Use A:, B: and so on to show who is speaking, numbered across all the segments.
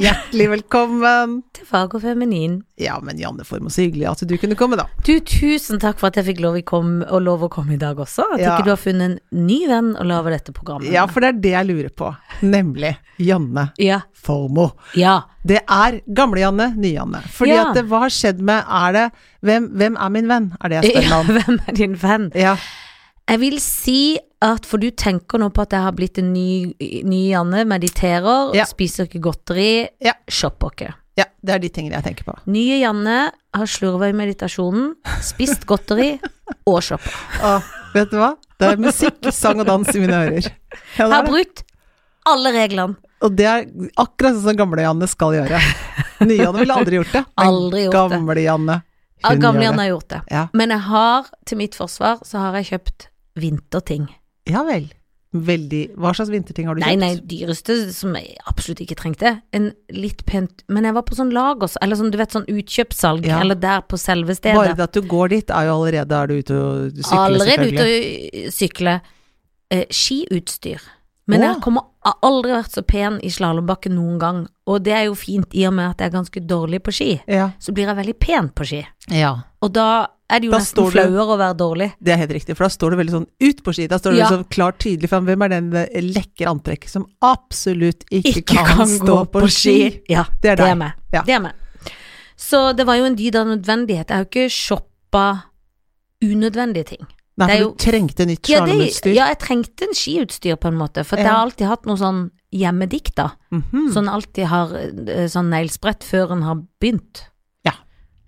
A: Hjertelig velkommen.
B: til Fag og Feminin.
A: Ja, men Janne Formoe, så hyggelig at du kunne komme, da.
B: Du, tusen takk for at jeg fikk lov, i kom, og lov å komme i dag også. At
A: Ja.
B: ikke du har funnet en ny venn å lage dette programmet.
A: Ja,
B: med.
A: for det er det jeg lurer på. Nemlig Janne
B: ja.
A: Formoe.
B: Ja.
A: Det er gamle-Janne, nye-Janne. Fordi
B: Ja.
A: at det, hva har skjedd med Er det hvem, hvem er min venn? Er det jeg spør
B: ja.
A: meg om.
B: Hvem er din venn?
A: Ja.
B: Jeg vil si at For du tenker nå på at jeg har blitt en ny, ny Janne. Mediterer,
A: Ja.
B: spiser ikke godteri,
A: Ja.
B: shopper ikke.
A: ja, det er de tingene jeg tenker på.
B: Nye Janne har slurva i meditasjonen, spist godteri og shopper.
A: Å, vet du hva? Det er musikk, sang og dans i mine ører. Ja,
B: Jeg
A: det
B: har
A: er det.
B: brutt alle reglene.
A: Og det er akkurat sånn som gamle-Janne skal gjøre. Nye-Janne ville aldri gjort det. men
B: Aldri gjort det.
A: Gamle-Janne.
B: Ja,
A: hun
B: Gamle
A: gjør
B: Janne
A: det.
B: har gjort det.
A: Ja.
B: Men jeg har, til mitt forsvar, så har jeg kjøpt vinterting.
A: Ja vel. Veldig Hva slags vinterting har du
B: Nei,
A: kjøpt?
B: nei, dyreste som jeg absolutt ikke trengte. En litt pent Men jeg var på sånn lager, eller sånn, du vet, sånn utkjøpssalg,
A: Ja.
B: eller der på selve
A: Bare
B: stedet.
A: det at du går dit, er jo allerede er du ute og du sykler,
B: Allerede ute
A: selvfølgelig.
B: og sykle. Eh, skiutstyr. Men
A: Å.
B: jeg kommer har aldri vært så pen i slalåmbakken noen gang. Og det er jo fint, i og med at jeg er ganske dårlig på ski.
A: Ja.
B: Så blir jeg veldig pen på ski.
A: ja.
B: Og da er det jo
A: Da
B: nesten
A: står du-
B: flauere å være dårlig.
A: Det er helt riktig, for da står det veldig sånn ut på ski. Da står det
B: Ja.
A: sånn klart tydelig fram hvem er den eh, lekre antrekket som absolutt ikke,
B: Ikke kan,
A: stå
B: gå
A: på ski.
B: Ja,
A: Det er deg.
B: meg.
A: Ja.
B: Det er meg. Så det var jo en dyd av nødvendighet. Jeg har jo ikke shoppa unødvendige ting.
A: Nei,
B: Det er
A: for
B: jo-
A: du trengte nytt
B: Ja, det,
A: slalåmutstyr.
B: ja, jeg trengte en skiutstyr på en måte, for at jeg
A: Ja.
B: har alltid hatt noe sånn hjemmedikt, da.
A: Mhm.
B: Sånn alltid har eh, sånn neglesprett før en har begynt.
A: Ja.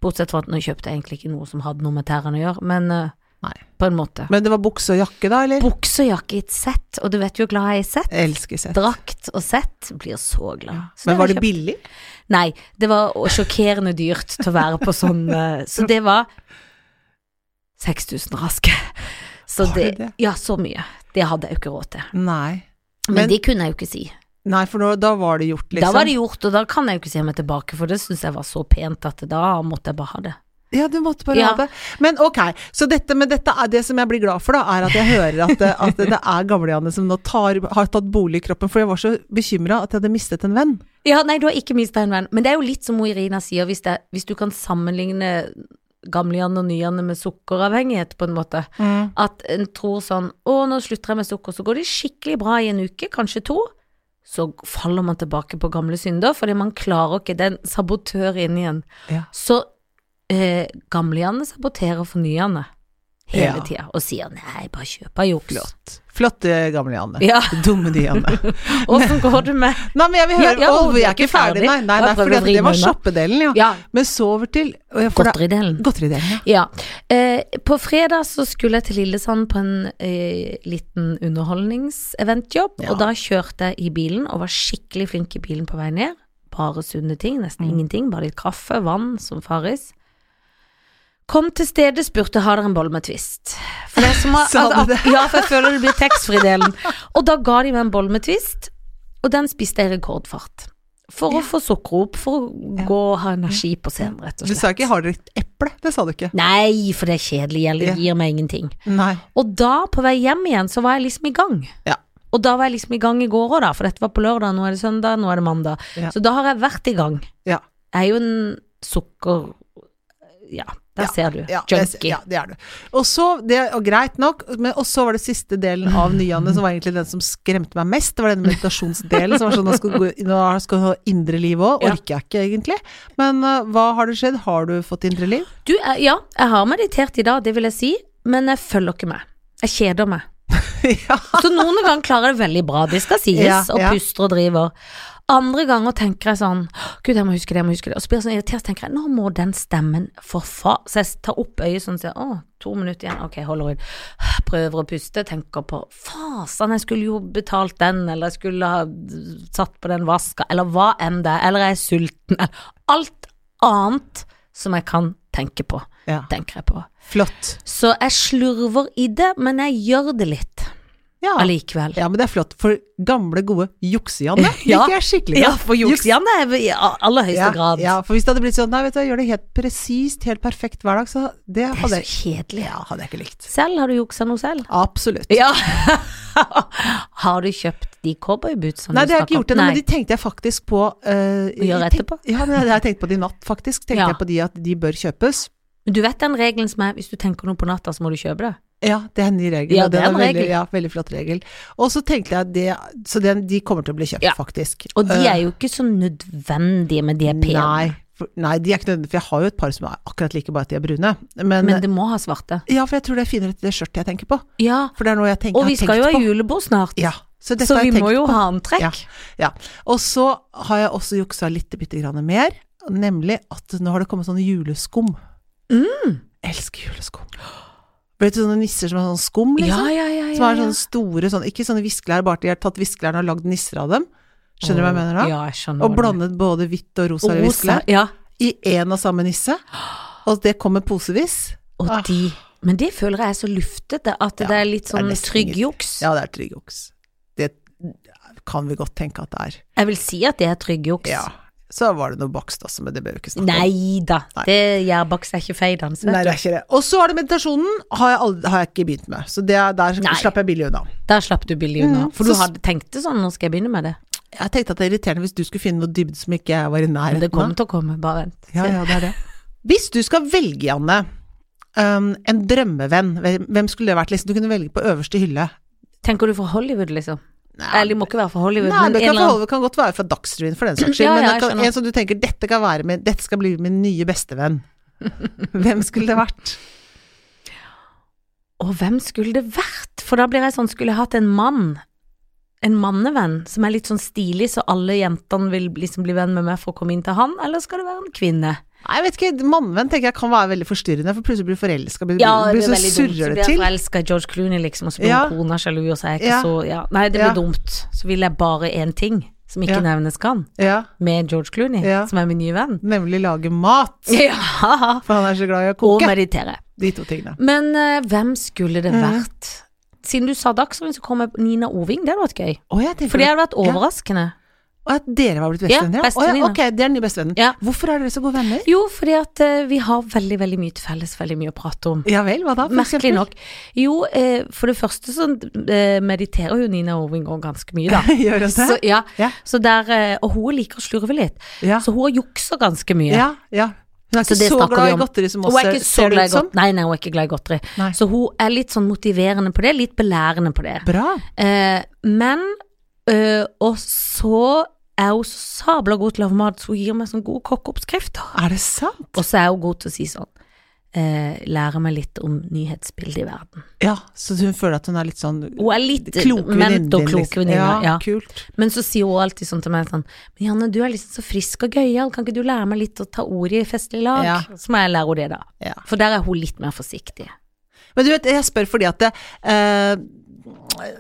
B: Bortsett fra at nå kjøpte jeg egentlig ikke noe som hadde noe med tærne å gjøre, men eh,
A: Nei.
B: på en måte.
A: Men det var bukse og jakke, da, eller?
B: Bukse og jakke i et sett, og du vet jo hvor glad jeg er i sett.
A: Jeg elsker sett.
B: Drakt og sett blir så glad. Så
A: Men var
B: har jeg
A: det
B: kjøpt.
A: billig?
B: Nei, det var å- sjokkerende dyrt til å være på sånn eh, Så det var 6000 raske. Så
A: Var det
B: det,
A: det?
B: Ja, så mye. Det hadde jeg jo ikke råd til.
A: Nei.
B: Men,
A: Men-
B: det kunne jeg jo ikke si.
A: Nei, for nå, da var det gjort, liksom.
B: Da var det gjort, og da kan jeg jo ikke si meg tilbake, for det syns jeg var så pent at da måtte jeg bare ha det.
A: Ja, du måtte bare
B: Ja.
A: ha det. Men ok, så dette, men dette er det som jeg blir glad for, da, er at jeg hører at det, at det er gamle-Janne som nå tar, har tatt bolig i kroppen, for jeg var så bekymra at jeg hadde mistet en venn.
B: Ja, nei, du har ikke mista en venn, men det er jo litt som hun Irina sier, hvis, det, hvis du kan sammenligne gamle-Jan og ny-Janne med sukkeravhengighet, på en måte. At en tror sånn Å, nå slutter jeg med sukker. Så går det skikkelig bra i en uke, kanskje to. Så faller man tilbake på gamle synder, fordi man klarer ikke Det er en sabotør inn igjen.
A: Ja.
B: Så eh, gamle-Janne saboterer for ny-Janne hele
A: Ja.
B: tida og sier nei, bare kjøp av juks.
A: Flott. Flott, eh, gamle-Janne.
B: Ja,
A: Dumme de, Janne.
B: åssen går det med
A: Nei, men jeg vil høre,
B: Ja, ja,
A: Å,
B: du
A: vi
B: er
A: er ikke
B: ikke ferdig.
A: ferdig, nei. nei,
B: Bare
A: nei
B: prøv å
A: fordi at
B: vri
A: det var
B: meg unna.
A: shoppedelen, ja.
B: Ja,
A: Men så over til eh, for da-
B: godteridelen?
A: Godteridelen, ja.
B: Ja. Eh, på fredag så skulle jeg til Lillesand på en eh, liten underholdningseventjobb,
A: Ja.
B: og da kjørte jeg i bilen og var skikkelig flink i bilen på vei ned. Bare sunne ting, nesten
A: Mm.
B: ingenting, bare litt kaffe, vann som Farris. Kom til stedet, spurte har dere en boll med twist. For det er som å- altså,
A: Sa du det?
B: Ja, for jeg føler det blir taxfree-delen. Og da ga de meg en boll med twist, og den spiste jeg i rekordfart. For å få sukkerop, for å
A: Ja.
B: gå og ha energi på scenen, rett og
A: Du
B: slett.
A: sa ikke 'har dere et eple'? Det sa du ikke.
B: Nei, for det er kjedelig, jeg
A: Ja.
B: gir meg ingenting.
A: Nei.
B: Og da, på vei hjem igjen, så var jeg liksom i gang.
A: Ja.
B: Og da var jeg liksom i gang i går òg, da, for dette var på lørdag, nå er det søndag, nå er det mandag.
A: Ja.
B: Så da har jeg vært i gang.
A: Ja.
B: Jeg er jo en sukker... Ja, der
A: Ja,
B: ser du.
A: Ja, det-
B: Junkie.
A: Ja, det er du. Og så, det, og greit nok, men og så var det siste delen av Nyanne som var egentlig den som skremte meg mest. Det var den meditasjonsdelen som var sånn, nå skal du gå- nå skal du ha indre liv òg,
B: Ja.
A: orker jeg ikke egentlig. Men eh, hva har det skjedd, har du fått indre liv?
B: Du, jeg- ja, jeg har meditert i dag, det vil jeg si, men jeg følger ikke med. Jeg kjeder meg.
A: ja.
B: Så noen ganger klarer jeg det veldig bra, det skal sies,
A: Ja,
B: og
A: ja.
B: puster og driver. Andre ganger tenker jeg sånn Gud, jeg må huske det, jeg må huske det. Og så blir jeg sånn irritert, så tenker jeg nå må den stemmen for fa... Så jeg tar opp øyet sånn og sier å, to minutter igjen, ok, holder ut. Prøver å puste, tenker på fasen, jeg skulle jo betalt den, eller jeg skulle ha satt på den vaska, eller hva enn det er, eller jeg er sulten, eller alt annet som jeg kan tenke på,
A: ja.
B: tenker jeg på.
A: Flott.
B: Så jeg slurver i det, men jeg gjør det litt.
A: Ja.
B: allikevel.
A: ja, men det er flott. For gamle, gode jukse-Janne
B: Ja.
A: liker jeg skikkelig
B: Ja,
A: godt.
B: for juks Janne er vi i aller høyeste
A: Ja,
B: grad.
A: ja, for hvis det hadde blitt sånn Nei, vet du, jeg gjør det helt presist, helt perfekt hver dag, så det
B: Det
A: hadde
B: er så
A: jeg
B: kjedelig.
A: Ja, hadde jeg ikke likt.
B: Selv har du juksa noe selv?
A: Absolutt.
B: Ja. har du kjøpt de cowboybootsa
A: Nei, det har jeg ikke gjort ennå, men de tenkte jeg faktisk på eh,
B: Å gjøre
A: jeg tenk-
B: etterpå?
A: Ja, men det har jeg tenkt på det i natt, faktisk. Tenkte
B: Ja.
A: jeg på de at de bør kjøpes.
B: Men du vet den regelen som er hvis du tenker noe på natta, så må du kjøpe det?
A: Ja, det er en ny regel.
B: Ja,
A: og
B: det er
A: den
B: en
A: Veldig,
B: regel.
A: ja, veldig flott regel. Og så tenkte jeg at det Så den, de kommer til å bli kjøpt,
B: Ja.
A: faktisk.
B: Og de
A: Eh,
B: er jo ikke så nødvendige, men de er pene.
A: Nei, for, nei, de er ikke nødvendige, for jeg har jo et par som er akkurat like, bare at de er brune. Men,
B: Men det må ha svarte.
A: ja, for jeg tror det er finere til det skjørtet jeg tenker på.
B: Ja,
A: For det er noe jeg tenker,
B: og vi skal jo ha
A: har tenkt på.
B: julebord snart,
A: Ja, så dette
B: så
A: har
B: vi
A: jeg tenkt
B: må jo
A: på.
B: ha antrekk.
A: Ja, ja. Og så har jeg også juksa litt bitte grann mer, nemlig at nå har det kommet sånne juleskum.
B: Mm.
A: Elsker juleskum. Vet du sånne nisser som har sånn skum, liksom?
B: Ja, ja, ja, ja,
A: Som er
B: ja.
A: sånne store, sånn, ikke sånne viskelær, bare at de har tatt viskelærne og lagd nisser av dem. Skjønner du hva jeg mener da?
B: Ja, jeg skjønner
A: og
B: hva du mener.
A: blandet både hvitt og rosa,
B: Og
A: og
B: rosa.
A: viskelær
B: Ja,
A: i én og samme nisse. Og det kommer posevis.
B: og
A: Ah.
B: de Men det føler jeg er så luftete, at
A: Ja,
B: det er litt
A: det er
B: sånn
A: nesten
B: trygg
A: ingenting.
B: juks.
A: Ja, det er trygg juks. Det kan vi godt tenke at det er.
B: Jeg vil si at det er trygg juks.
A: Ja. Så var det noe bakst også, men det bør vi ikke snakke om.
B: Nei da,
A: Nei.
B: det gjærbakst er ikke feidans.
A: Nei, det er ikke det. Og så er det meditasjonen, har jeg, aldri, har jeg ikke begynt med. Så det, er- der
B: Nei.
A: slapp jeg billig unna.
B: Der slapp du billig unna.
A: Mm,
B: For du
A: så-
B: hadde tenkt det sånn, nå skal jeg begynne med det.
A: Jeg tenkte at det er irriterende hvis du skulle finne noe dybde som ikke jeg var i nærheten
B: Men det kommer
A: av.
B: til å komme, bare vent.
A: Ja, ja, det er det. Hvis du skal velge, Janne, um, en drømmevenn, hvem hvem skulle det vært? Liksom, du kunne velge på øverste hylle.
B: Tenker du fra Hollywood, liksom? Eller det må ikke være fra Hollywood,
A: Nei,
B: men
A: det
B: en
A: kan,
B: eller annen
A: forholde, kan godt være fra Dagsrevyen for den saks skyld,
B: Ja,
A: men
B: ja,
A: det kan,
B: jeg skjønner.
A: en som du tenker dette, kan være min, dette skal bli min nye bestevenn. Hvem skulle det vært?
B: Og hvem skulle det vært? For da blir jeg sånn, skulle jeg hatt en mann, en mannevenn, som er litt sånn stilig, så alle jentene vil liksom bli venn med meg for å komme inn til han, eller skal det være en kvinne?
A: Nei, jeg vet ikke, Mannvenn tenker jeg kan være veldig forstyrrende, for plutselig blir du forelska, blir,
B: Ja, det
A: blir
B: blir
A: så
B: veldig dumt. Så
A: surrer
B: blir
A: det
B: jeg
A: til.
B: forelska i George Clooney, liksom, og så blir
A: Ja.
B: kona sjalu, og så er jeg ikke
A: Ja.
B: så ja. Nei, det
A: Ja.
B: blir dumt. Så vil jeg bare én ting, som ikke
A: Ja.
B: nevnes kan,
A: Ja,
B: med George Clooney,
A: Ja.
B: som er min nye venn.
A: nemlig lage mat,
B: Ja!
A: for han er så glad i å koke.
B: Og meditere.
A: De to tingene.
B: Men eh, hvem
A: Mm.
B: skulle det vært? Siden du sa Dagsrevyen, så kom jeg på Nina Oving, det hadde vært gøy.
A: Å, jeg tenker
B: For det hadde vært
A: Mm. Ja.
B: overraskende.
A: Å, at dere var blitt
B: Ja,
A: bestevenner? Ja, ja,
B: bestevenninner.
A: ok, det er den nye bestevennen.
B: Ja.
A: Hvorfor er dere så gode venner?
B: Jo, fordi at eh, vi har veldig, veldig mye til felles, veldig mye å prate om.
A: Ja vel, hva da? for
B: Merkelig
A: eksempel?
B: nok. Jo, eh, for det første så eh, mediterer jo Nina Oving òg ganske mye, da.
A: Gjør oss det?
B: Så, ja.
A: Ja.
B: Så der, eh, og hun liker å slurve litt,
A: Ja.
B: så hun jukser ganske mye.
A: ja, ja. Hun er
B: Så
A: ikke
B: det
A: så,
B: snakker vi
A: glad i
B: om.
A: godteri som
B: Hun
A: oss,
B: er ikke så
A: ser det
B: glad i
A: ut som.
B: godteri. Nei, nei, hun er ikke glad i godteri.
A: Nei.
B: Så hun er litt sånn motiverende på det, litt belærende på det.
A: Bra.
B: Eh, men eh, Og så er hun så sabla god til å lage mat, så hun gir meg sånne gode kokkeoppskrifter.
A: Er det sant?
B: Og så er hun god til å si sånn eh, Lære meg litt om nyhetsbildet i verden.
A: Ja, så hun føler at hun er litt sånn
B: Hun er litt
A: kloke venninnen
B: ment og
A: din,
B: kloke
A: liksom.
B: venninne.
A: Ja,
B: Ja,
A: kult.
B: Men så sier hun alltid sånn til meg sånn Men Janne, du er liksom så frisk og gøyal, kan ikke du lære meg litt å ta ordet i festlig lag?
A: Ja.
B: Så må jeg lære henne det, da.
A: Ja.
B: For der er hun litt mer forsiktig.
A: Men du vet, jeg spør fordi at det, eh,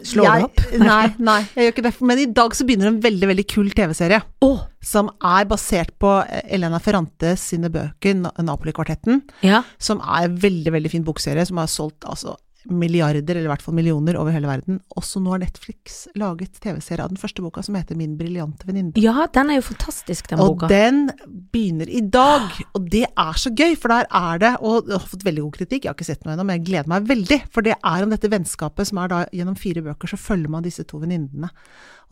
B: Slår
A: jeg,
B: det opp?
A: Nei, nei, jeg gjør ikke det. Men i dag så begynner en veldig, veldig kul TV-serie.
B: Å!
A: Som er basert på eh, Elena Ferrante sine bøker, Na- Napoli-kvartetten.
B: Ja.
A: Som er en veldig, veldig fin bokserie, som har solgt altså milliarder, eller i hvert fall millioner, over hele verden. Også nå har Netflix laget TV-serie av den første boka, som heter Min briljante venninne.
B: ja, den er jo fantastisk, den
A: Og
B: boka.
A: den begynner i dag, og det er så gøy, for der er det Og jeg har fått veldig god kritikk, jeg har ikke sett noe ennå, men jeg gleder meg veldig. For det er om dette vennskapet som er da gjennom fire bøker, så følger man disse to venninnene.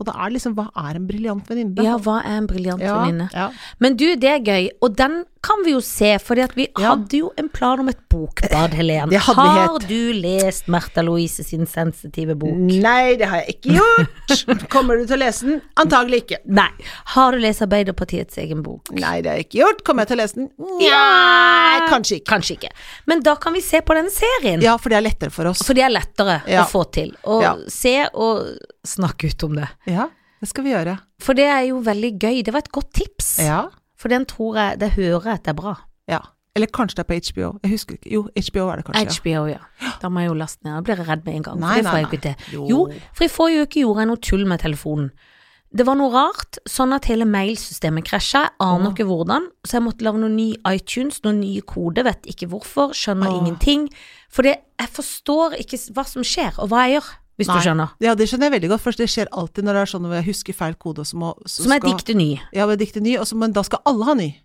A: Og da er det liksom Hva er en briljant venninne?
B: Ja, hva er en briljant
A: Ja,
B: venninne?
A: ja.
B: Men du, det er gøy, og den kan vi jo se, for vi
A: Ja.
B: hadde jo en plan om et bokbad, Helen.
A: Det hadde vi
B: Har
A: helt.
B: du lest Märtha Louise sin sensitive bok?
A: Nei, det har jeg ikke gjort. Kommer du til å lese den? Antagelig ikke.
B: Nei. Har du lest Arbeiderpartiets egen bok?
A: Nei, det har jeg ikke gjort. Kommer jeg til å lese den?
B: Ja.
A: kanskje ikke.
B: Kanskje ikke. Men da kan vi se på denne serien.
A: Ja, for det er lettere for oss.
B: For det er lettere
A: Ja.
B: å få til. Å
A: Ja.
B: se og snakke ut om det.
A: Ja, det skal vi gjøre.
B: For det er jo veldig gøy. Det var et godt tips.
A: Ja.
B: For den tror jeg Det hører jeg at det er bra.
A: ja. Eller kanskje det er på HBO. Jeg husker ikke. Jo, HBO er det kanskje. ja.
B: HBO, ja. Da må jeg jo laste ned. Da blir jeg redd med en gang.
A: Nei,
B: for det
A: nei,
B: får jeg
A: nei.
B: ikke til.
A: Jo.
B: Jo. for i forrige uke gjorde jeg noe tull med telefonen. Det var noe rart, sånn at hele mailsystemet krasja. Jeg aner ikke hvordan. Så jeg måtte lage noen ny iTunes, noen nye kode, vet ikke hvorfor. Skjønner
A: Åh.
B: ingenting. For det, jeg forstår ikke s- hva som skjer, og hva jeg gjør. hvis
A: Nei.
B: du skjønner.
A: Ja, det skjønner jeg veldig godt. Først, det skjer alltid når det er sånn hvor jeg husker feil kode, og så må så
B: Som er
A: skal-
B: diktet ny.
A: Ja, men diktet ny, og så, men da skal alle ha ny.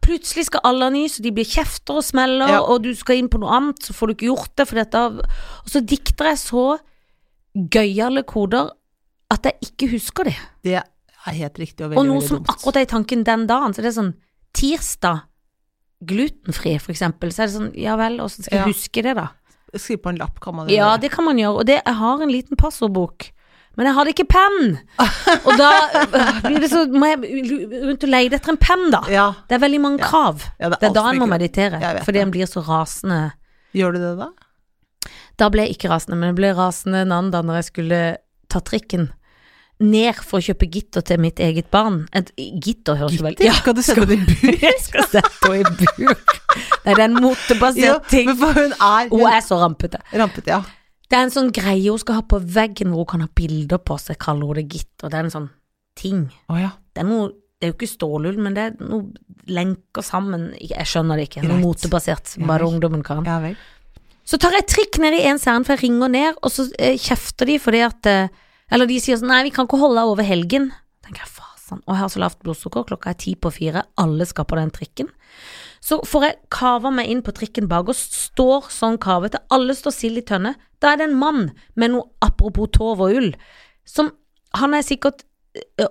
B: Plutselig skal alle ha ny, så de blir kjefter og smeller,
A: Ja.
B: og du skal inn på noe annet, så får du ikke gjort det, for dette Og så dikter jeg så gøyale koder at jeg ikke husker de.
A: Det er helt riktig og veldig,
B: Og noe
A: veldig
B: som
A: dumt.
B: akkurat er i tanken den dagen, så det er sånn tirsdag, glutenfri for eksempel, så er det sånn, ja vel, åssen skal jeg
A: Ja.
B: huske det da?
A: Skriv på en lapp, kan man
B: Ja,
A: gjøre.
B: det kan man gjøre, og det, jeg har en liten passordbok. Men jeg hadde ikke penn! Og da øh, blir det så Må jeg rundt og leide etter en penn, da.
A: Ja.
B: Det er veldig mange krav.
A: Ja, det er
B: Det er da
A: alt som
B: en må
A: ikke-
B: meditere,
A: Jeg vet
B: fordi
A: det.
B: en blir så rasende.
A: Gjør du det da?
B: Da ble jeg ikke rasende, men jeg ble rasende en annen dag når jeg skulle ta trikken ned for å kjøpe gitter til mitt eget barn. Et, gitter høres jo vel
A: Gitter? Skal du sende det i bur?
B: jeg skal sette henne i bur. Nei, det er en
A: Ja,
B: motebasert ting.
A: men for hun er
B: Hun
A: hun
B: er så rampete.
A: rampete, ja.
B: Det er en sånn greie hun skal ha på veggen hvor hun kan ha bilder på seg, kaller hun det gitter. Det er en sånn ting.
A: Å ja.
B: Det er noe det er jo ikke stålull, men det er noe lenker sammen. Jeg skjønner det ikke. Noe
A: Greit.
B: motebasert som
A: Ja
B: bare
A: vel.
B: ungdommen kan.
A: Ja vel.
B: Så tar jeg trikk ned i en særen, for jeg ringer ned, og så eh, kjefter de fordi at eh, Eller de sier sånn Nei, vi kan ikke holde deg over helgen. tenker jeg, fasen. Og jeg har så lavt blodsukker, klokka er ti på fire, alle skal på den trikken. Så får jeg kava meg inn på trikken bak og står sånn kavete, alle står sild i tønne. Da er det en mann med noe apropos tov og ull, som Han er sikkert eh,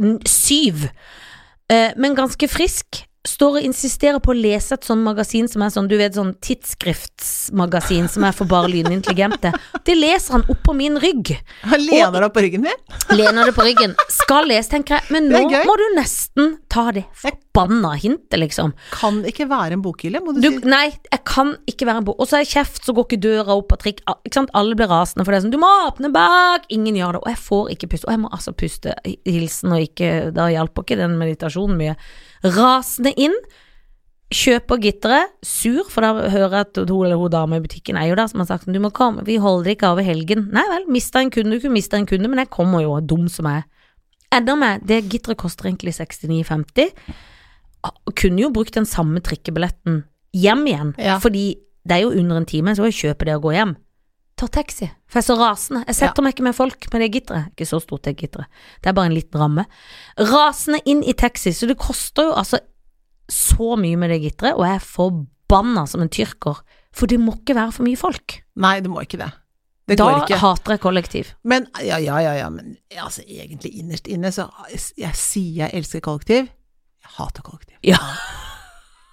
B: 87, eh, men ganske frisk. Står og insisterer på å lese et sånn magasin som er sånn, du vet, sånn tidsskriftsmagasin som er for bare lynintelligente. Det leser han oppå min rygg.
A: Han lener deg på ryggen din.
B: Lener det på ryggen. Skal lese, tenker jeg. Men
A: Det er
B: nå
A: gøy.
B: må du nesten ta det forbanna hintet, liksom.
A: Kan ikke være en bokhylle, må du,
B: Du,
A: si.
B: nei, jeg kan ikke være en bo. Og så er det kjeft, så går ikke døra opp av trikk. Ah, Ikke sant? Alle blir rasende, for det er sånn Du må åpne bak! Ingen gjør det. Og jeg får ikke puste. Og jeg må altså puste hilsen, og ikke Da hjalp ikke den meditasjonen mye. Rasende inn. Kjøper gitteret, sur, for da hører jeg at hun eller hun dame i butikken er jo der, som har sagt sånn, du må komme, vi holder ikke av i helgen. Nei vel, mista en kunde, du kunne mista en kunde, men jeg kommer jo, dum som jeg er. Enda med, det gitteret koster egentlig 69,50. Kunne jo brukt den samme trikkebilletten hjem igjen,
A: Ja.
B: fordi det er jo under en time, så må jeg kjøpe det og gå hjem. Ta taxi, for jeg er så rasende. Jeg setter meg ikke med folk med det gitteret. Ikke så stort, det gitteret. Det er bare en liten ramme. Rasende inn i taxi, så det koster jo altså så mye med det gitteret, og jeg er forbanna som en tyrker. For det må ikke være for mye folk.
A: Nei, du må ikke det. Det
B: da
A: går ikke.
B: hater jeg kollektiv.
A: Men ja, ja, ja, ja, men altså, egentlig innerst inne så jeg, jeg sier jeg elsker kollektiv. Jeg hater kollektiv.
B: Ja.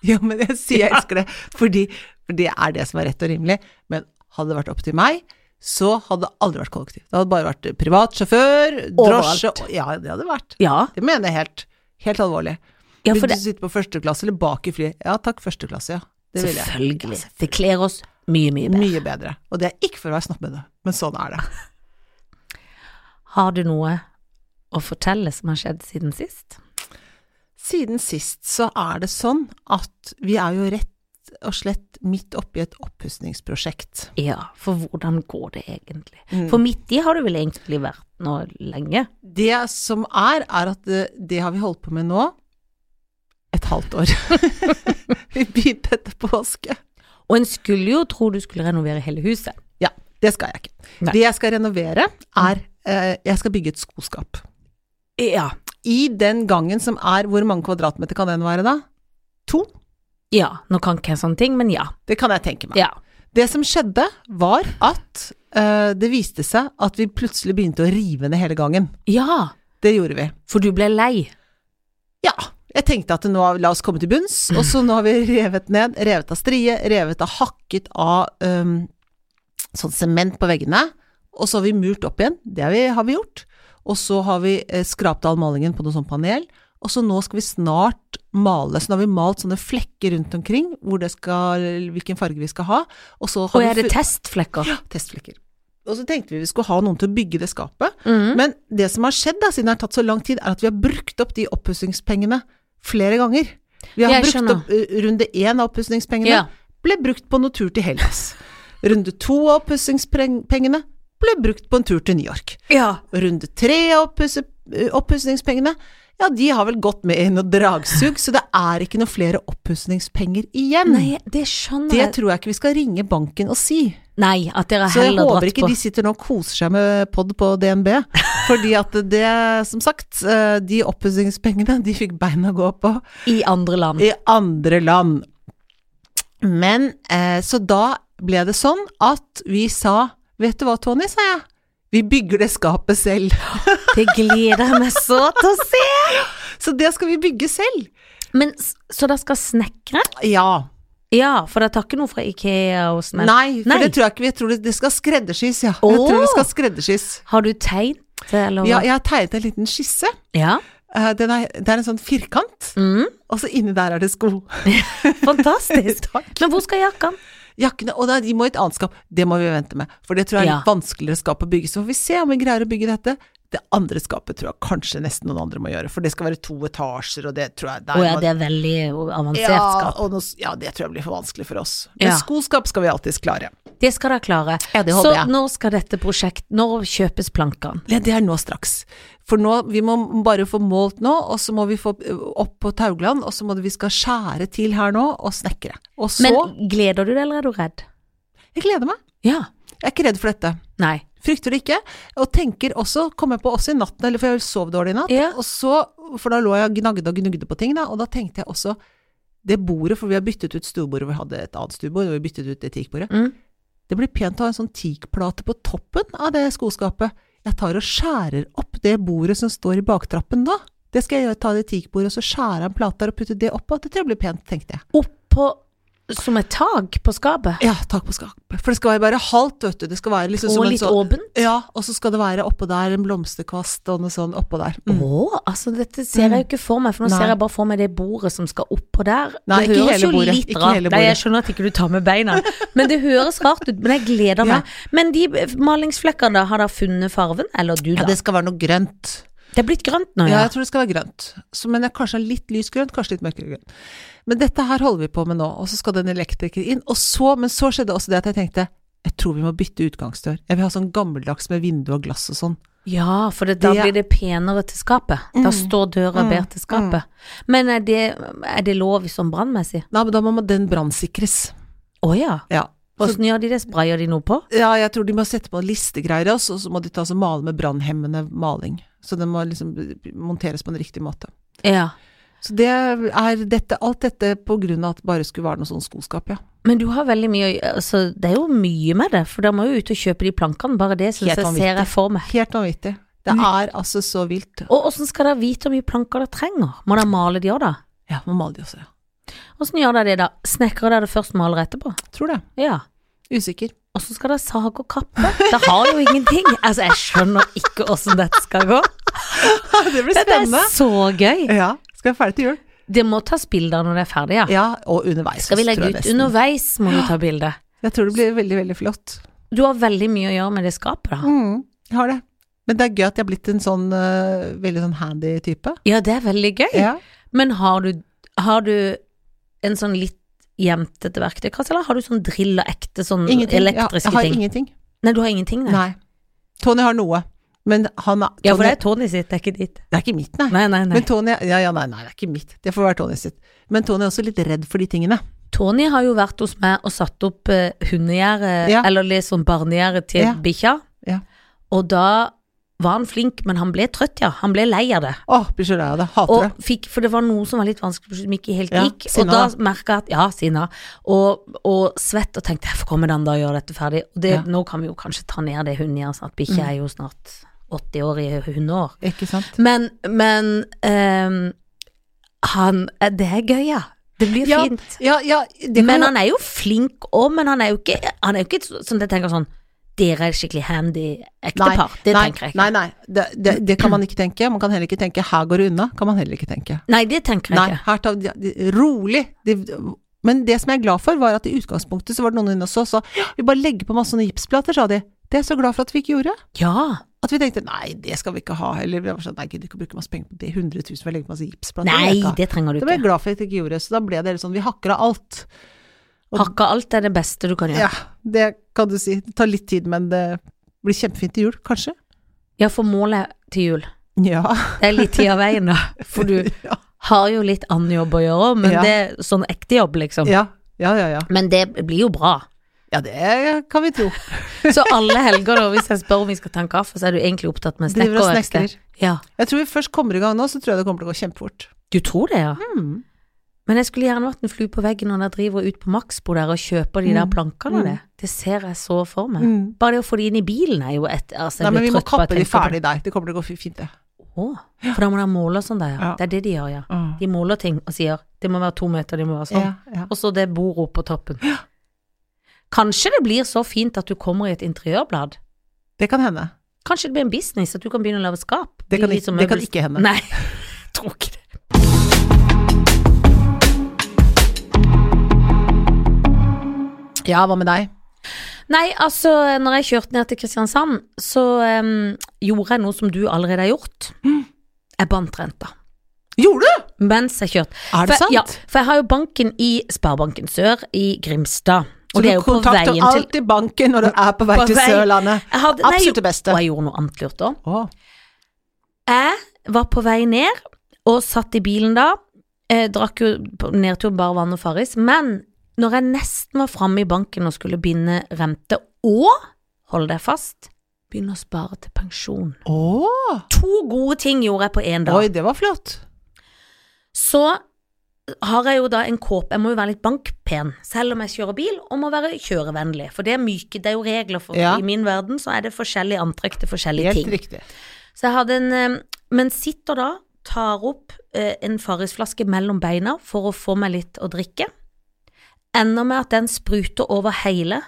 A: Ja, men jeg sier jeg elsker det, fordi for det er det som er rett og rimelig. Men hadde det vært opp til meg, så hadde det aldri vært kollektiv. Det hadde bare vært privat sjåfør, drosje
B: Overalt.
A: og- Ja, det hadde vært.
B: Ja,
A: Det mener jeg helt, helt alvorlig.
B: ja
A: Vil
B: for
A: du
B: det
A: sitte på første klasse eller bak i flyet? Ja takk, første klasse, ja. Det vil jeg.
B: Selvfølgelig. Det kler oss mye, mye bedre.
A: Mye bedre. Og det er ikke for å være snappende, men sånn er det.
B: Har du noe å fortelle som har skjedd siden sist?
A: Siden sist så er det sånn at vi er jo rett og slett midt oppi et oppussingsprosjekt.
B: Ja, for hvordan går det egentlig?
A: Mm.
B: For midt i har du vel egentlig vært nå lenge?
A: Det som er, er at det, det har vi holdt på med nå et halvt år. vi begynte etter påske.
B: Og en skulle jo tro du skulle renovere hele huset.
A: Ja, det skal jeg ikke.
B: Nei.
A: Det jeg skal renovere, er eh, Jeg skal bygge et skoskap.
B: Ja.
A: I den gangen som er Hvor mange kvadratmeter kan den være, da? To?
B: Ja, nå kan ikke jeg sånne ting, men ja.
A: Det kan jeg tenke meg.
B: Ja.
A: Det som skjedde, var at eh, det viste seg at vi plutselig begynte å rive ned hele gangen.
B: ja.
A: Det gjorde vi.
B: For du ble lei.
A: Ja. Jeg tenkte at nå la oss komme til bunns, og så nå har vi revet ned. Revet av strie, revet av hakket av øhm, sånn sement på veggene. Og så har vi murt opp igjen. Det har vi, har vi gjort. Og så har vi eh, skrapt av malingen på noe sånt panel. Og så nå skal vi snart male. Så nå har vi malt sånne flekker rundt omkring, hvor det skal, hvilken farge vi skal ha. Og så har
B: Og
A: vi
B: er det
A: fu-
B: testflekker?
A: Ja, testflekker. Og så tenkte vi vi skulle ha noen til å bygge det skapet.
B: Mhm.
A: Men det som har skjedd da, siden det har tatt så lang tid, er at vi har brukt opp de oppussingspengene flere ganger. Vi har
B: Jeg
A: brukt
B: skjønner.
A: opp eh, runde én av oppussingspengene,
B: Ja.
A: ble brukt på noen tur til Hellas. Runde to av oppussingspengene ble brukt på en tur til New York.
B: Ja.
A: Runde tre av oppusse- eh, oppussingspengene, Ja, de har vel gått med i noe dragsug, så det er ikke noe flere oppussingspenger igjen.
B: Nei, det skjønner
A: Det
B: jeg.
A: tror jeg ikke vi skal ringe banken og si.
B: Nei, at dere
A: Så jeg
B: heller
A: håper
B: dratt
A: ikke
B: på.
A: de sitter nå og koser seg med pod på DNB. Fordi at det, som sagt, eh, de oppussingspengene, de fikk beina å gå på
B: I andre land.
A: i andre land. Men eh, Så da ble det sånn at vi sa Vet du hva, Tony, sa jeg. Vi bygger det skapet selv.
B: Det gleder jeg meg så til å se.
A: Så det skal vi bygge selv.
B: Men, s- så dere skal snekre?
A: Ja.
B: Ja, for dere tar ikke noe fra Ikea og sånn?
A: Nei, for
B: Nei.
A: det tror jeg ikke. Jeg tror det, det skal skreddersys, ja. Jeg
B: Åh.
A: tror det skal skreddersys.
B: Har du tegnet, eller?
A: Ja, jeg har tegnet en liten skisse.
B: ja.
A: Eh, den er, det er en sånn firkant,
B: Mm,
A: og så inni der er det sko.
B: fantastisk. Men hvor skal jakka?
A: Jakkene Og da, de må i et annet skap. Det må vi vente med, for det tror jeg er litt
B: Ja.
A: vanskeligere skap å bygge. Så får vi se om vi greier å bygge dette. Det andre skapet tror jeg kanskje nesten noen andre må gjøre, for det skal være to etasjer, og det tror jeg der
B: Å ja,
A: må-
B: det er veldig avansert
A: ja,
B: skap.
A: og noe, s- ja, det tror jeg blir for vanskelig for oss. Men
B: Ja.
A: skoskap skal vi alltids klare.
B: Det skal dere klare.
A: Ja, det håper
B: så
A: jeg.
B: når skal dette prosjekt, når kjøpes plankene?
A: Ja, det er nå straks. For nå, vi må bare få målt nå, og så må vi få ø, opp på Taugland, og så må det, vi skal skjære til her nå, og snekre. Og så
B: Men gleder du deg, eller er du redd?
A: Jeg gleder meg.
B: Ja.
A: Jeg er ikke redd for dette.
B: Nei.
A: Frykter det ikke. Og tenker også, kom jeg på også i natten, eller for jeg sov dårlig i natt,
B: Ja.
A: og så, for da lå jeg og gnagde og gnugde på ting, da, og da tenkte jeg også det bordet, for vi har byttet ut stuebordet, vi hadde et annet stuebord, og vi byttet ut det teakbordet.
B: Mm.
A: Det blir pent å ha en sånn teakplate på toppen av det skoskapet. Jeg tar og skjærer opp det bordet som står i baktrappen da. Det skal jeg gjøre, ta det teakbordet og så skjære en plate der og putte det oppå. Det tror jeg blir pent, tenkte jeg.
B: Oppå, som et tak på skapet?
A: Ja, tak på skapet. For det skal være bare halvt, vet du. Det skal være liksom
B: Og
A: som en
B: litt
A: sånn
B: åpen?
A: Ja, og så skal det være oppå der en blomsterkvast og noe sånn oppå der.
B: Å,
A: Mm.
B: altså dette ser jeg jo ikke for meg, for nå
A: Nei.
B: ser jeg bare for meg det bordet som skal oppå der.
A: Nei,
B: det
A: ikke
B: høres
A: hele
B: jo
A: bordet,
B: litt
A: ikke
B: rart
A: hele
B: Nei, jeg
A: bordet.
B: skjønner at ikke du tar med beina, men det høres rart ut. Men jeg
A: Ja.
B: gleder meg. Men de malingsflekkene, da, har dere funnet farven? Eller du,
A: Ja,
B: da?
A: det skal være noe grønt.
B: det er blitt grønt nå,
A: Ja,
B: ja.
A: jeg tror det skal være grønt. Så, men det er kanskje litt lysgrønt, kanskje litt mørkere grønt. Men dette her holder vi på med nå, og så skal den elektriker inn. Og så, men så skjedde også det at jeg tenkte jeg tror vi må bytte utgangsdør. Jeg vil ha sånn gammeldags med vindu og glass og sånn.
B: Ja, for det, da
A: Det- Mm.
B: blir det penere til skapet. Da står døra bedre til skapet. Men er det, er det lov sånn brannmessig?
A: Nei, men da må den brannsikres.
B: Å ja.
A: Ja. Så,
B: Åssen gjør de det? Sprayer de noe på?
A: ja, jeg tror de må sette på listegreier, og så så må de ta og male med brannhemmende maling. Så den må liksom monteres på en riktig måte.
B: Ja.
A: Så det er dette, alt dette på grunn av at det bare skulle være noe sånn skoskap, ja.
B: Men du har veldig mye å gjøre, altså, det er jo mye med det, for dere må jo ut og kjøpe de plankene, bare det syns
A: Helt
B: jeg
A: vanvittig.
B: ser jeg for meg.
A: Helt vanvittig. Det er altså så vilt.
B: Og åssen skal dere vite hvor mye planker dere trenger? Må dere male de òg, da?
A: Ja, må male de også, ja.
B: Åssen gjør dere det, da? Snekrer dere det først, maler etterpå?
A: Tror det.
B: Ja.
A: Usikker.
B: Åssen skal dere sage og kappe? Dere har jo ingenting. Altså, jeg skjønner ikke åssen dette skal gå.
A: Det blir
B: Dette er så gøy.
A: Ja. Skal være ferdig til jul.
B: Det må tas bilder når det er ferdig, ja.
A: Ja, og underveis.
B: Skal vi legge
A: tror jeg
B: ut
A: nesten.
B: underveis, må vi ta bilde.
A: Jeg tror det blir veldig, veldig flott.
B: Du har veldig mye å gjøre med det skapet, da.
A: Mm, jeg har det. Men det er gøy at jeg har blitt en sånn eh, veldig sånn handy type.
B: Ja, det er veldig gøy.
A: Ja.
B: Men har du, har du en sånn litt jevntete verktøykasse, eller har du sånn drill og ekte sånn
A: Ingenting. Ja, jeg
B: elektriske
A: har
B: ting?
A: ingenting.
B: Nei, du har ingenting, nei.
A: Nei. Tony har noe. Men han er,
B: Ja, for
A: Tony-
B: det er Tony sitt, det er ikke ditt.
A: det er ikke mitt, nei.
B: Nei, nei, nei.
A: Men Tony Ja, ja, nei, nei, det er ikke mitt. Det får være Tony sitt. Men Tony er også litt redd for de tingene.
B: Tony har jo vært hos meg og satt opp eh, hundegjerde,
A: Ja.
B: eller litt sånn barnegjerde til
A: Ja.
B: bikkja,
A: Ja.
B: og da var han flink, men han ble trøtt, ja. Han ble lei av det.
A: Åh, blir så lei av det. Hater det.
B: Og fikk, for det var noe som var litt vanskelig, som ikke helt
A: Ja,
B: gikk.
A: sinna,
B: og da
A: da.
B: merka jeg at Ja, sinna. Og, og svett, og tenkte hvorfor kommer den da og gjør dette ferdig? Og det,
A: Ja.
B: nå kan vi jo kanskje ta ned det hundegjæret, sånn at bikkja er jo snart 80 år i hundeår.
A: Ikke sant?
B: Men, men ehm, han eh, Det er gøy, ja. Det blir
A: Ja,
B: fint.
A: ja, ja, det kan
B: Men
A: jo-
B: han er jo flink òg, men han er jo ikke Han er jo ikke så- sånn at jeg tenker sånn Dere er skikkelig handy ektepar. Det
A: nei,
B: tenker jeg ikke.
A: nei, nei. Det, det, det kan man ikke tenke. Man kan heller ikke tenke 'her går det unna', kan man heller ikke tenke.
B: Nei, det tenker jeg
A: Nei,
B: ikke.
A: her tar de, de, rolig. De, men det som jeg er glad for, var at i utgangspunktet så var det noen inne og så, så «Ja, vi bare legger på masse sånne gipsplater, sa de. Det er jeg så glad for at vi ikke gjorde.
B: Ja.
A: At vi tenkte nei, det skal vi ikke ha heller. Vi var sånn, nei, jeg gidder ikke å bruke masse penger på det. 100 000 for å legge på masse gipsplater.
B: Nei,
A: det,
B: det trenger du
A: det var
B: ikke.
A: jeg glad for at vi ikke gjorde. Så da ble det helt sånn, vi hakker av alt.
B: Hakka alt er det beste du kan gjøre.
A: Ja, det kan du si. Det tar litt tid, men det blir kjempefint til jul, kanskje.
B: Ja, for målet til jul
A: Ja.
B: Det er litt tid av veien, da. For du
A: Ja.
B: har jo litt annen jobb å gjøre òg, men
A: Ja.
B: det er sånn ekte jobb, liksom.
A: Ja, ja, ja. Ja,
B: Men det blir jo bra.
A: ja det kan vi tro.
B: Så alle helger, da, hvis jeg spør om vi skal ta en kaffe, så er du egentlig opptatt med
A: Driver og
B: snekkerverksted?
A: snekrer.
B: Ja.
A: Jeg tror vi først kommer i gang nå, så tror jeg det kommer til å gå kjempefort.
B: Du tror det, ja?
A: Mm.
B: Men jeg skulle gjerne vært en flue på veggen når jeg driver ut på Maxbo der og kjøper de der
A: Mm.
B: plankene
A: Mm.
B: og det. Det ser jeg så for meg.
A: Mm.
B: Bare det å få de inn i bilen er jo et altså,
A: Nei,
B: jeg
A: men
B: blir
A: vi må
B: trøtt
A: kappe
B: bare
A: de
B: jeg tenker på
A: ferdig der. Det kommer til å gå fi- fint, det.
B: det. Å, for da må de måle og sånn der, ja.
A: Ja.
B: Det er det de gjør, ja. De måler ting og sier det må være to meter, de må være sånn.
A: Ah. Ja, ja.
B: Og så det bordet oppe på toppen. Kanskje det blir så fint at du kommer i et interiørblad.
A: Det kan hende.
B: Kanskje det blir en business at du kan begynne å lage skap.
A: Det kan,
B: Bli
A: ikke,
B: litt som
A: det kan
B: møbels-
A: ikke hende.
B: Nei, tror ikke det.
A: Ja, hva med deg?
B: Nei, altså, når jeg kjørte ned til Kristiansand, så em, gjorde jeg noe som du allerede har gjort.
A: Mm.
B: Jeg bandt renta
A: Gjorde du?
B: mens jeg kjørte.
A: Er det
B: for,
A: sant?
B: Ja, for jeg har jo banken i Sparebanken Sør i Grimstad. Og det er jo på
A: Så
B: veien
A: du kontakter
B: til
A: alltid banken når du er på vei
B: På
A: til
B: vei.
A: Sørlandet.
B: jeg hadde, nei,
A: Absolutt det
B: Og
A: beste.
B: jeg gjorde noe annet lurt òg.
A: Å,
B: Jeg var på vei ned, og satt i bilen da. Eh, drakk jo på nedtur bare vann og Farris. Men når jeg nesten var framme i banken og skulle binde rente, og hold deg fast, begynne å spare til pensjon.
A: Å.
B: To gode ting gjorde jeg på én dag.
A: Oi, det var flott.
B: Så har jeg jo da en kåpe Jeg må jo være litt bankpen, selv om jeg kjører bil, og må være kjørevennlig. For det er myke, det er jo regler for
A: Ja.
B: I min verden så er det forskjellig antrekk til forskjellige
A: Helt
B: ting.
A: riktig.
B: Så jeg hadde en eh, Men sitter da, tar opp eh, en Farris-flaske mellom beina for å få meg litt å drikke. Ender med at den spruter over hele.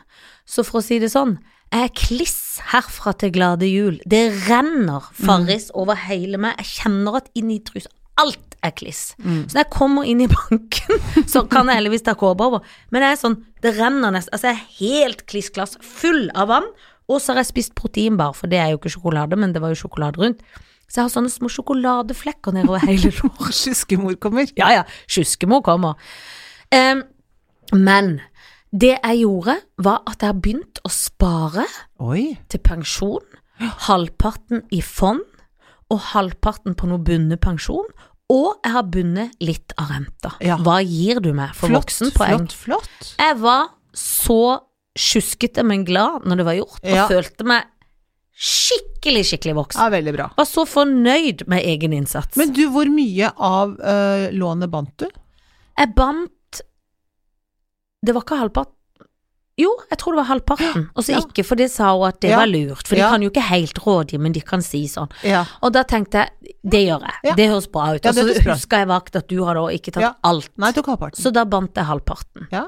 B: Så for å si det sånn, jeg er kliss herfra til glade jul. Det renner Farris over hele meg. Jeg kjenner at inni trusa alt er kliss. Så når jeg kommer inn i banken, så kan jeg heldigvis ta kåpe over. Men jeg er sånn, det renner nesten. Altså, jeg er helt klissglass, full av vann. Og så har jeg spist proteinbar, for det er jo ikke sjokolade, men det var jo sjokolade rundt. Så jeg har sånne små sjokoladeflekker nedover hele låret.
A: Skyskemor kommer.
B: Ja, ja, sjuskemor kommer. Em, men det jeg gjorde, var at jeg har begynt å spare
A: Oi.
B: til pensjon, halvparten i fond og halvparten på noe bundet pensjon, og jeg har bundet litt av renta.
A: Ja.
B: Hva gir du meg for
A: Flott,
B: voksenpoeng?
A: flott, flott.
B: Jeg var så sjuskete, men glad når det var gjort,
A: Ja.
B: og følte meg skikkelig, skikkelig voksen.
A: Ja, veldig bra.
B: Var så fornøyd med egen innsats.
A: Men du, hvor mye av eh, lånet bandt du?
B: Jeg bandt Det var ikke halvparten. Jo, jeg tror det var halvparten. Og så
A: Ja.
B: ikke, for det sa hun at det
A: Ja.
B: var lurt. For de
A: Ja.
B: kan jo ikke helt rådgi, men de kan si sånn.
A: Ja.
B: Og da tenkte jeg, det gjør jeg.
A: Ja.
B: Det høres bra ut.
A: Ja,
B: Og
A: det
B: så
A: høres bra ut.
B: huska jeg vagt at du har da ikke tatt
A: Ja.
B: alt.
A: Nei, jeg tok halvparten.
B: Så da bandt jeg halvparten.
A: Ja.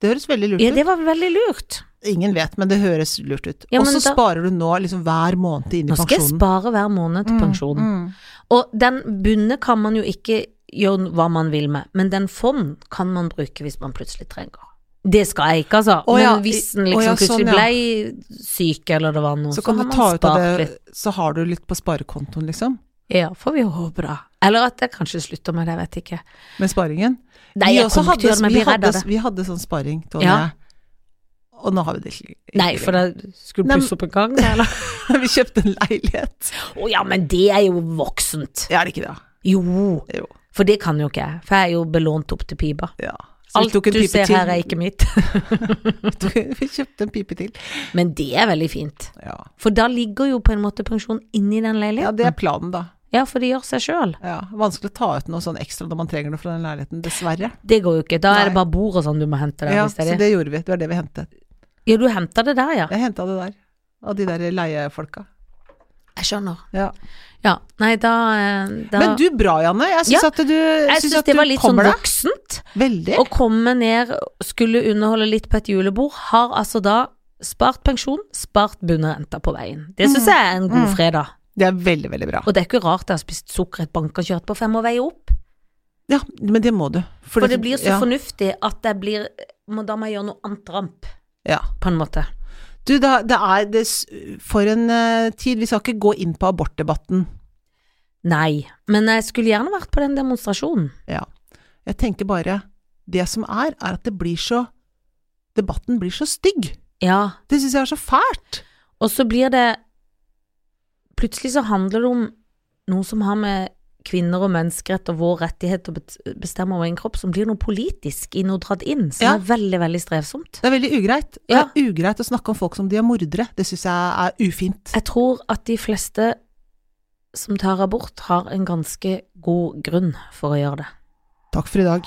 A: Det høres veldig lurt
B: Ja,
A: ut.
B: det var veldig lurt.
A: Ingen vet, men det høres lurt ut.
B: Ja,
A: og
B: men
A: så
B: da-
A: sparer du nå liksom hver måned inn i
B: Nå skal jeg
A: pensjonen. Mm,
B: spare hver måned til pensjonen. Og den bundet kan man jo ikke gjøre hva man vil med, men den fond kan man bruke hvis man plutselig trenger. Det skal jeg ikke, altså.
A: Å ja,
B: Men hvis den
A: i- å
B: liksom
A: ja, sånn,
B: plutselig
A: ja.
B: ble syk eller det var noe,
A: Så
B: så,
A: kan
B: har
A: du
B: man
A: ta ut av det,
B: spart litt.
A: så har du litt på sparekontoen, liksom.
B: Ja, får vi håpe, da. Eller at jeg kanskje slutter med det, jeg vet ikke.
A: Med sparingen.
B: Nei,
A: Vi
B: jeg
A: også
B: kommer ikke til å gjøre det, men
A: vi
B: jeg blir redd av
A: hadde,
B: det.
A: vi hadde sånn sparing, Tonje.
B: Ja.
A: Og nå har vi det ikke. ikke
B: Nei, for da skulle du
A: Nei, men-
B: pusse opp en gang, eller?
A: lenger. Vi kjøpte en leilighet.
B: Å ja, men det er jo voksent.
A: Ja, er det ikke det?
B: Jo,
A: Jo.
B: for det kan jo ikke jeg, for jeg er jo belånt opp til pipa.
A: Ja. Så vi
B: Alt
A: tok en
B: du
A: pipe
B: ser
A: til.
B: her er ikke mitt.
A: Vi kjøpte en pipe til.
B: Men det er veldig fint,
A: Ja.
B: for da ligger jo på en måte pensjon inni den
A: ja,
B: leiligheten.
A: det er planen, da.
B: Ja, for det gjør seg sjøl.
A: Ja. Vanskelig å ta ut noe sånn ekstra når man trenger det fra den leiligheten, dessverre.
B: Det går jo ikke. Da er det
A: Nei.
B: bare bord og sånn du må hente der.
A: Ja,
B: hvis det
A: så
B: er det.
A: det gjorde vi. Det var det vi hentet.
B: Ja, du henter det der, ja.
A: Jeg henta det der. Av de der leiefolka.
B: Jeg skjønner.
A: Ja.
B: Ja, nei, da, eh, da
A: Men du, bra, Janne. Jeg syns
B: Ja.
A: at du,
B: Jeg
A: synes
B: syns
A: at
B: det
A: du
B: var litt sånn
A: kommer deg.
B: voksent
A: Veldig.
B: å komme ned, skulle underholde litt på et julebord. Har altså da spart pensjon, spart bunnerenta på veien. Det
A: Mm.
B: syns jeg er en god fredag.
A: Det er veldig, veldig bra.
B: Og det er ikke rart jeg har spist sukker i et bankkonsert på, for jeg må veie opp.
A: Ja, men det må du.
B: For det blir så
A: ja,
B: fornuftig at jeg blir må, Da må jeg gjøre noe annet ramp,
A: ja.
B: på en måte.
A: Du, det, det er det, s- For en eh, tid. Vi skal ikke gå inn på abortdebatten.
B: Nei. Men jeg skulle gjerne vært på den demonstrasjonen.
A: Ja. Jeg tenker bare Det som er, er at det blir så Debatten blir så stygg.
B: Ja.
A: Det syns jeg er så fælt.
B: Og så blir det Plutselig så handler det om noe som har med kvinner og menneskerett og vår rettighet til å bet- bestemme over egen kropp, som blir noe politisk i noe dratt inn, som
A: Ja.
B: er veldig, veldig strevsomt.
A: Det er veldig ugreit.
B: Ja.
A: Det er ugreit å snakke om folk som de er mordere. Det syns jeg er ufint.
B: Jeg tror at de fleste som tar abort, har en ganske god grunn for å gjøre det.
A: Takk for i dag.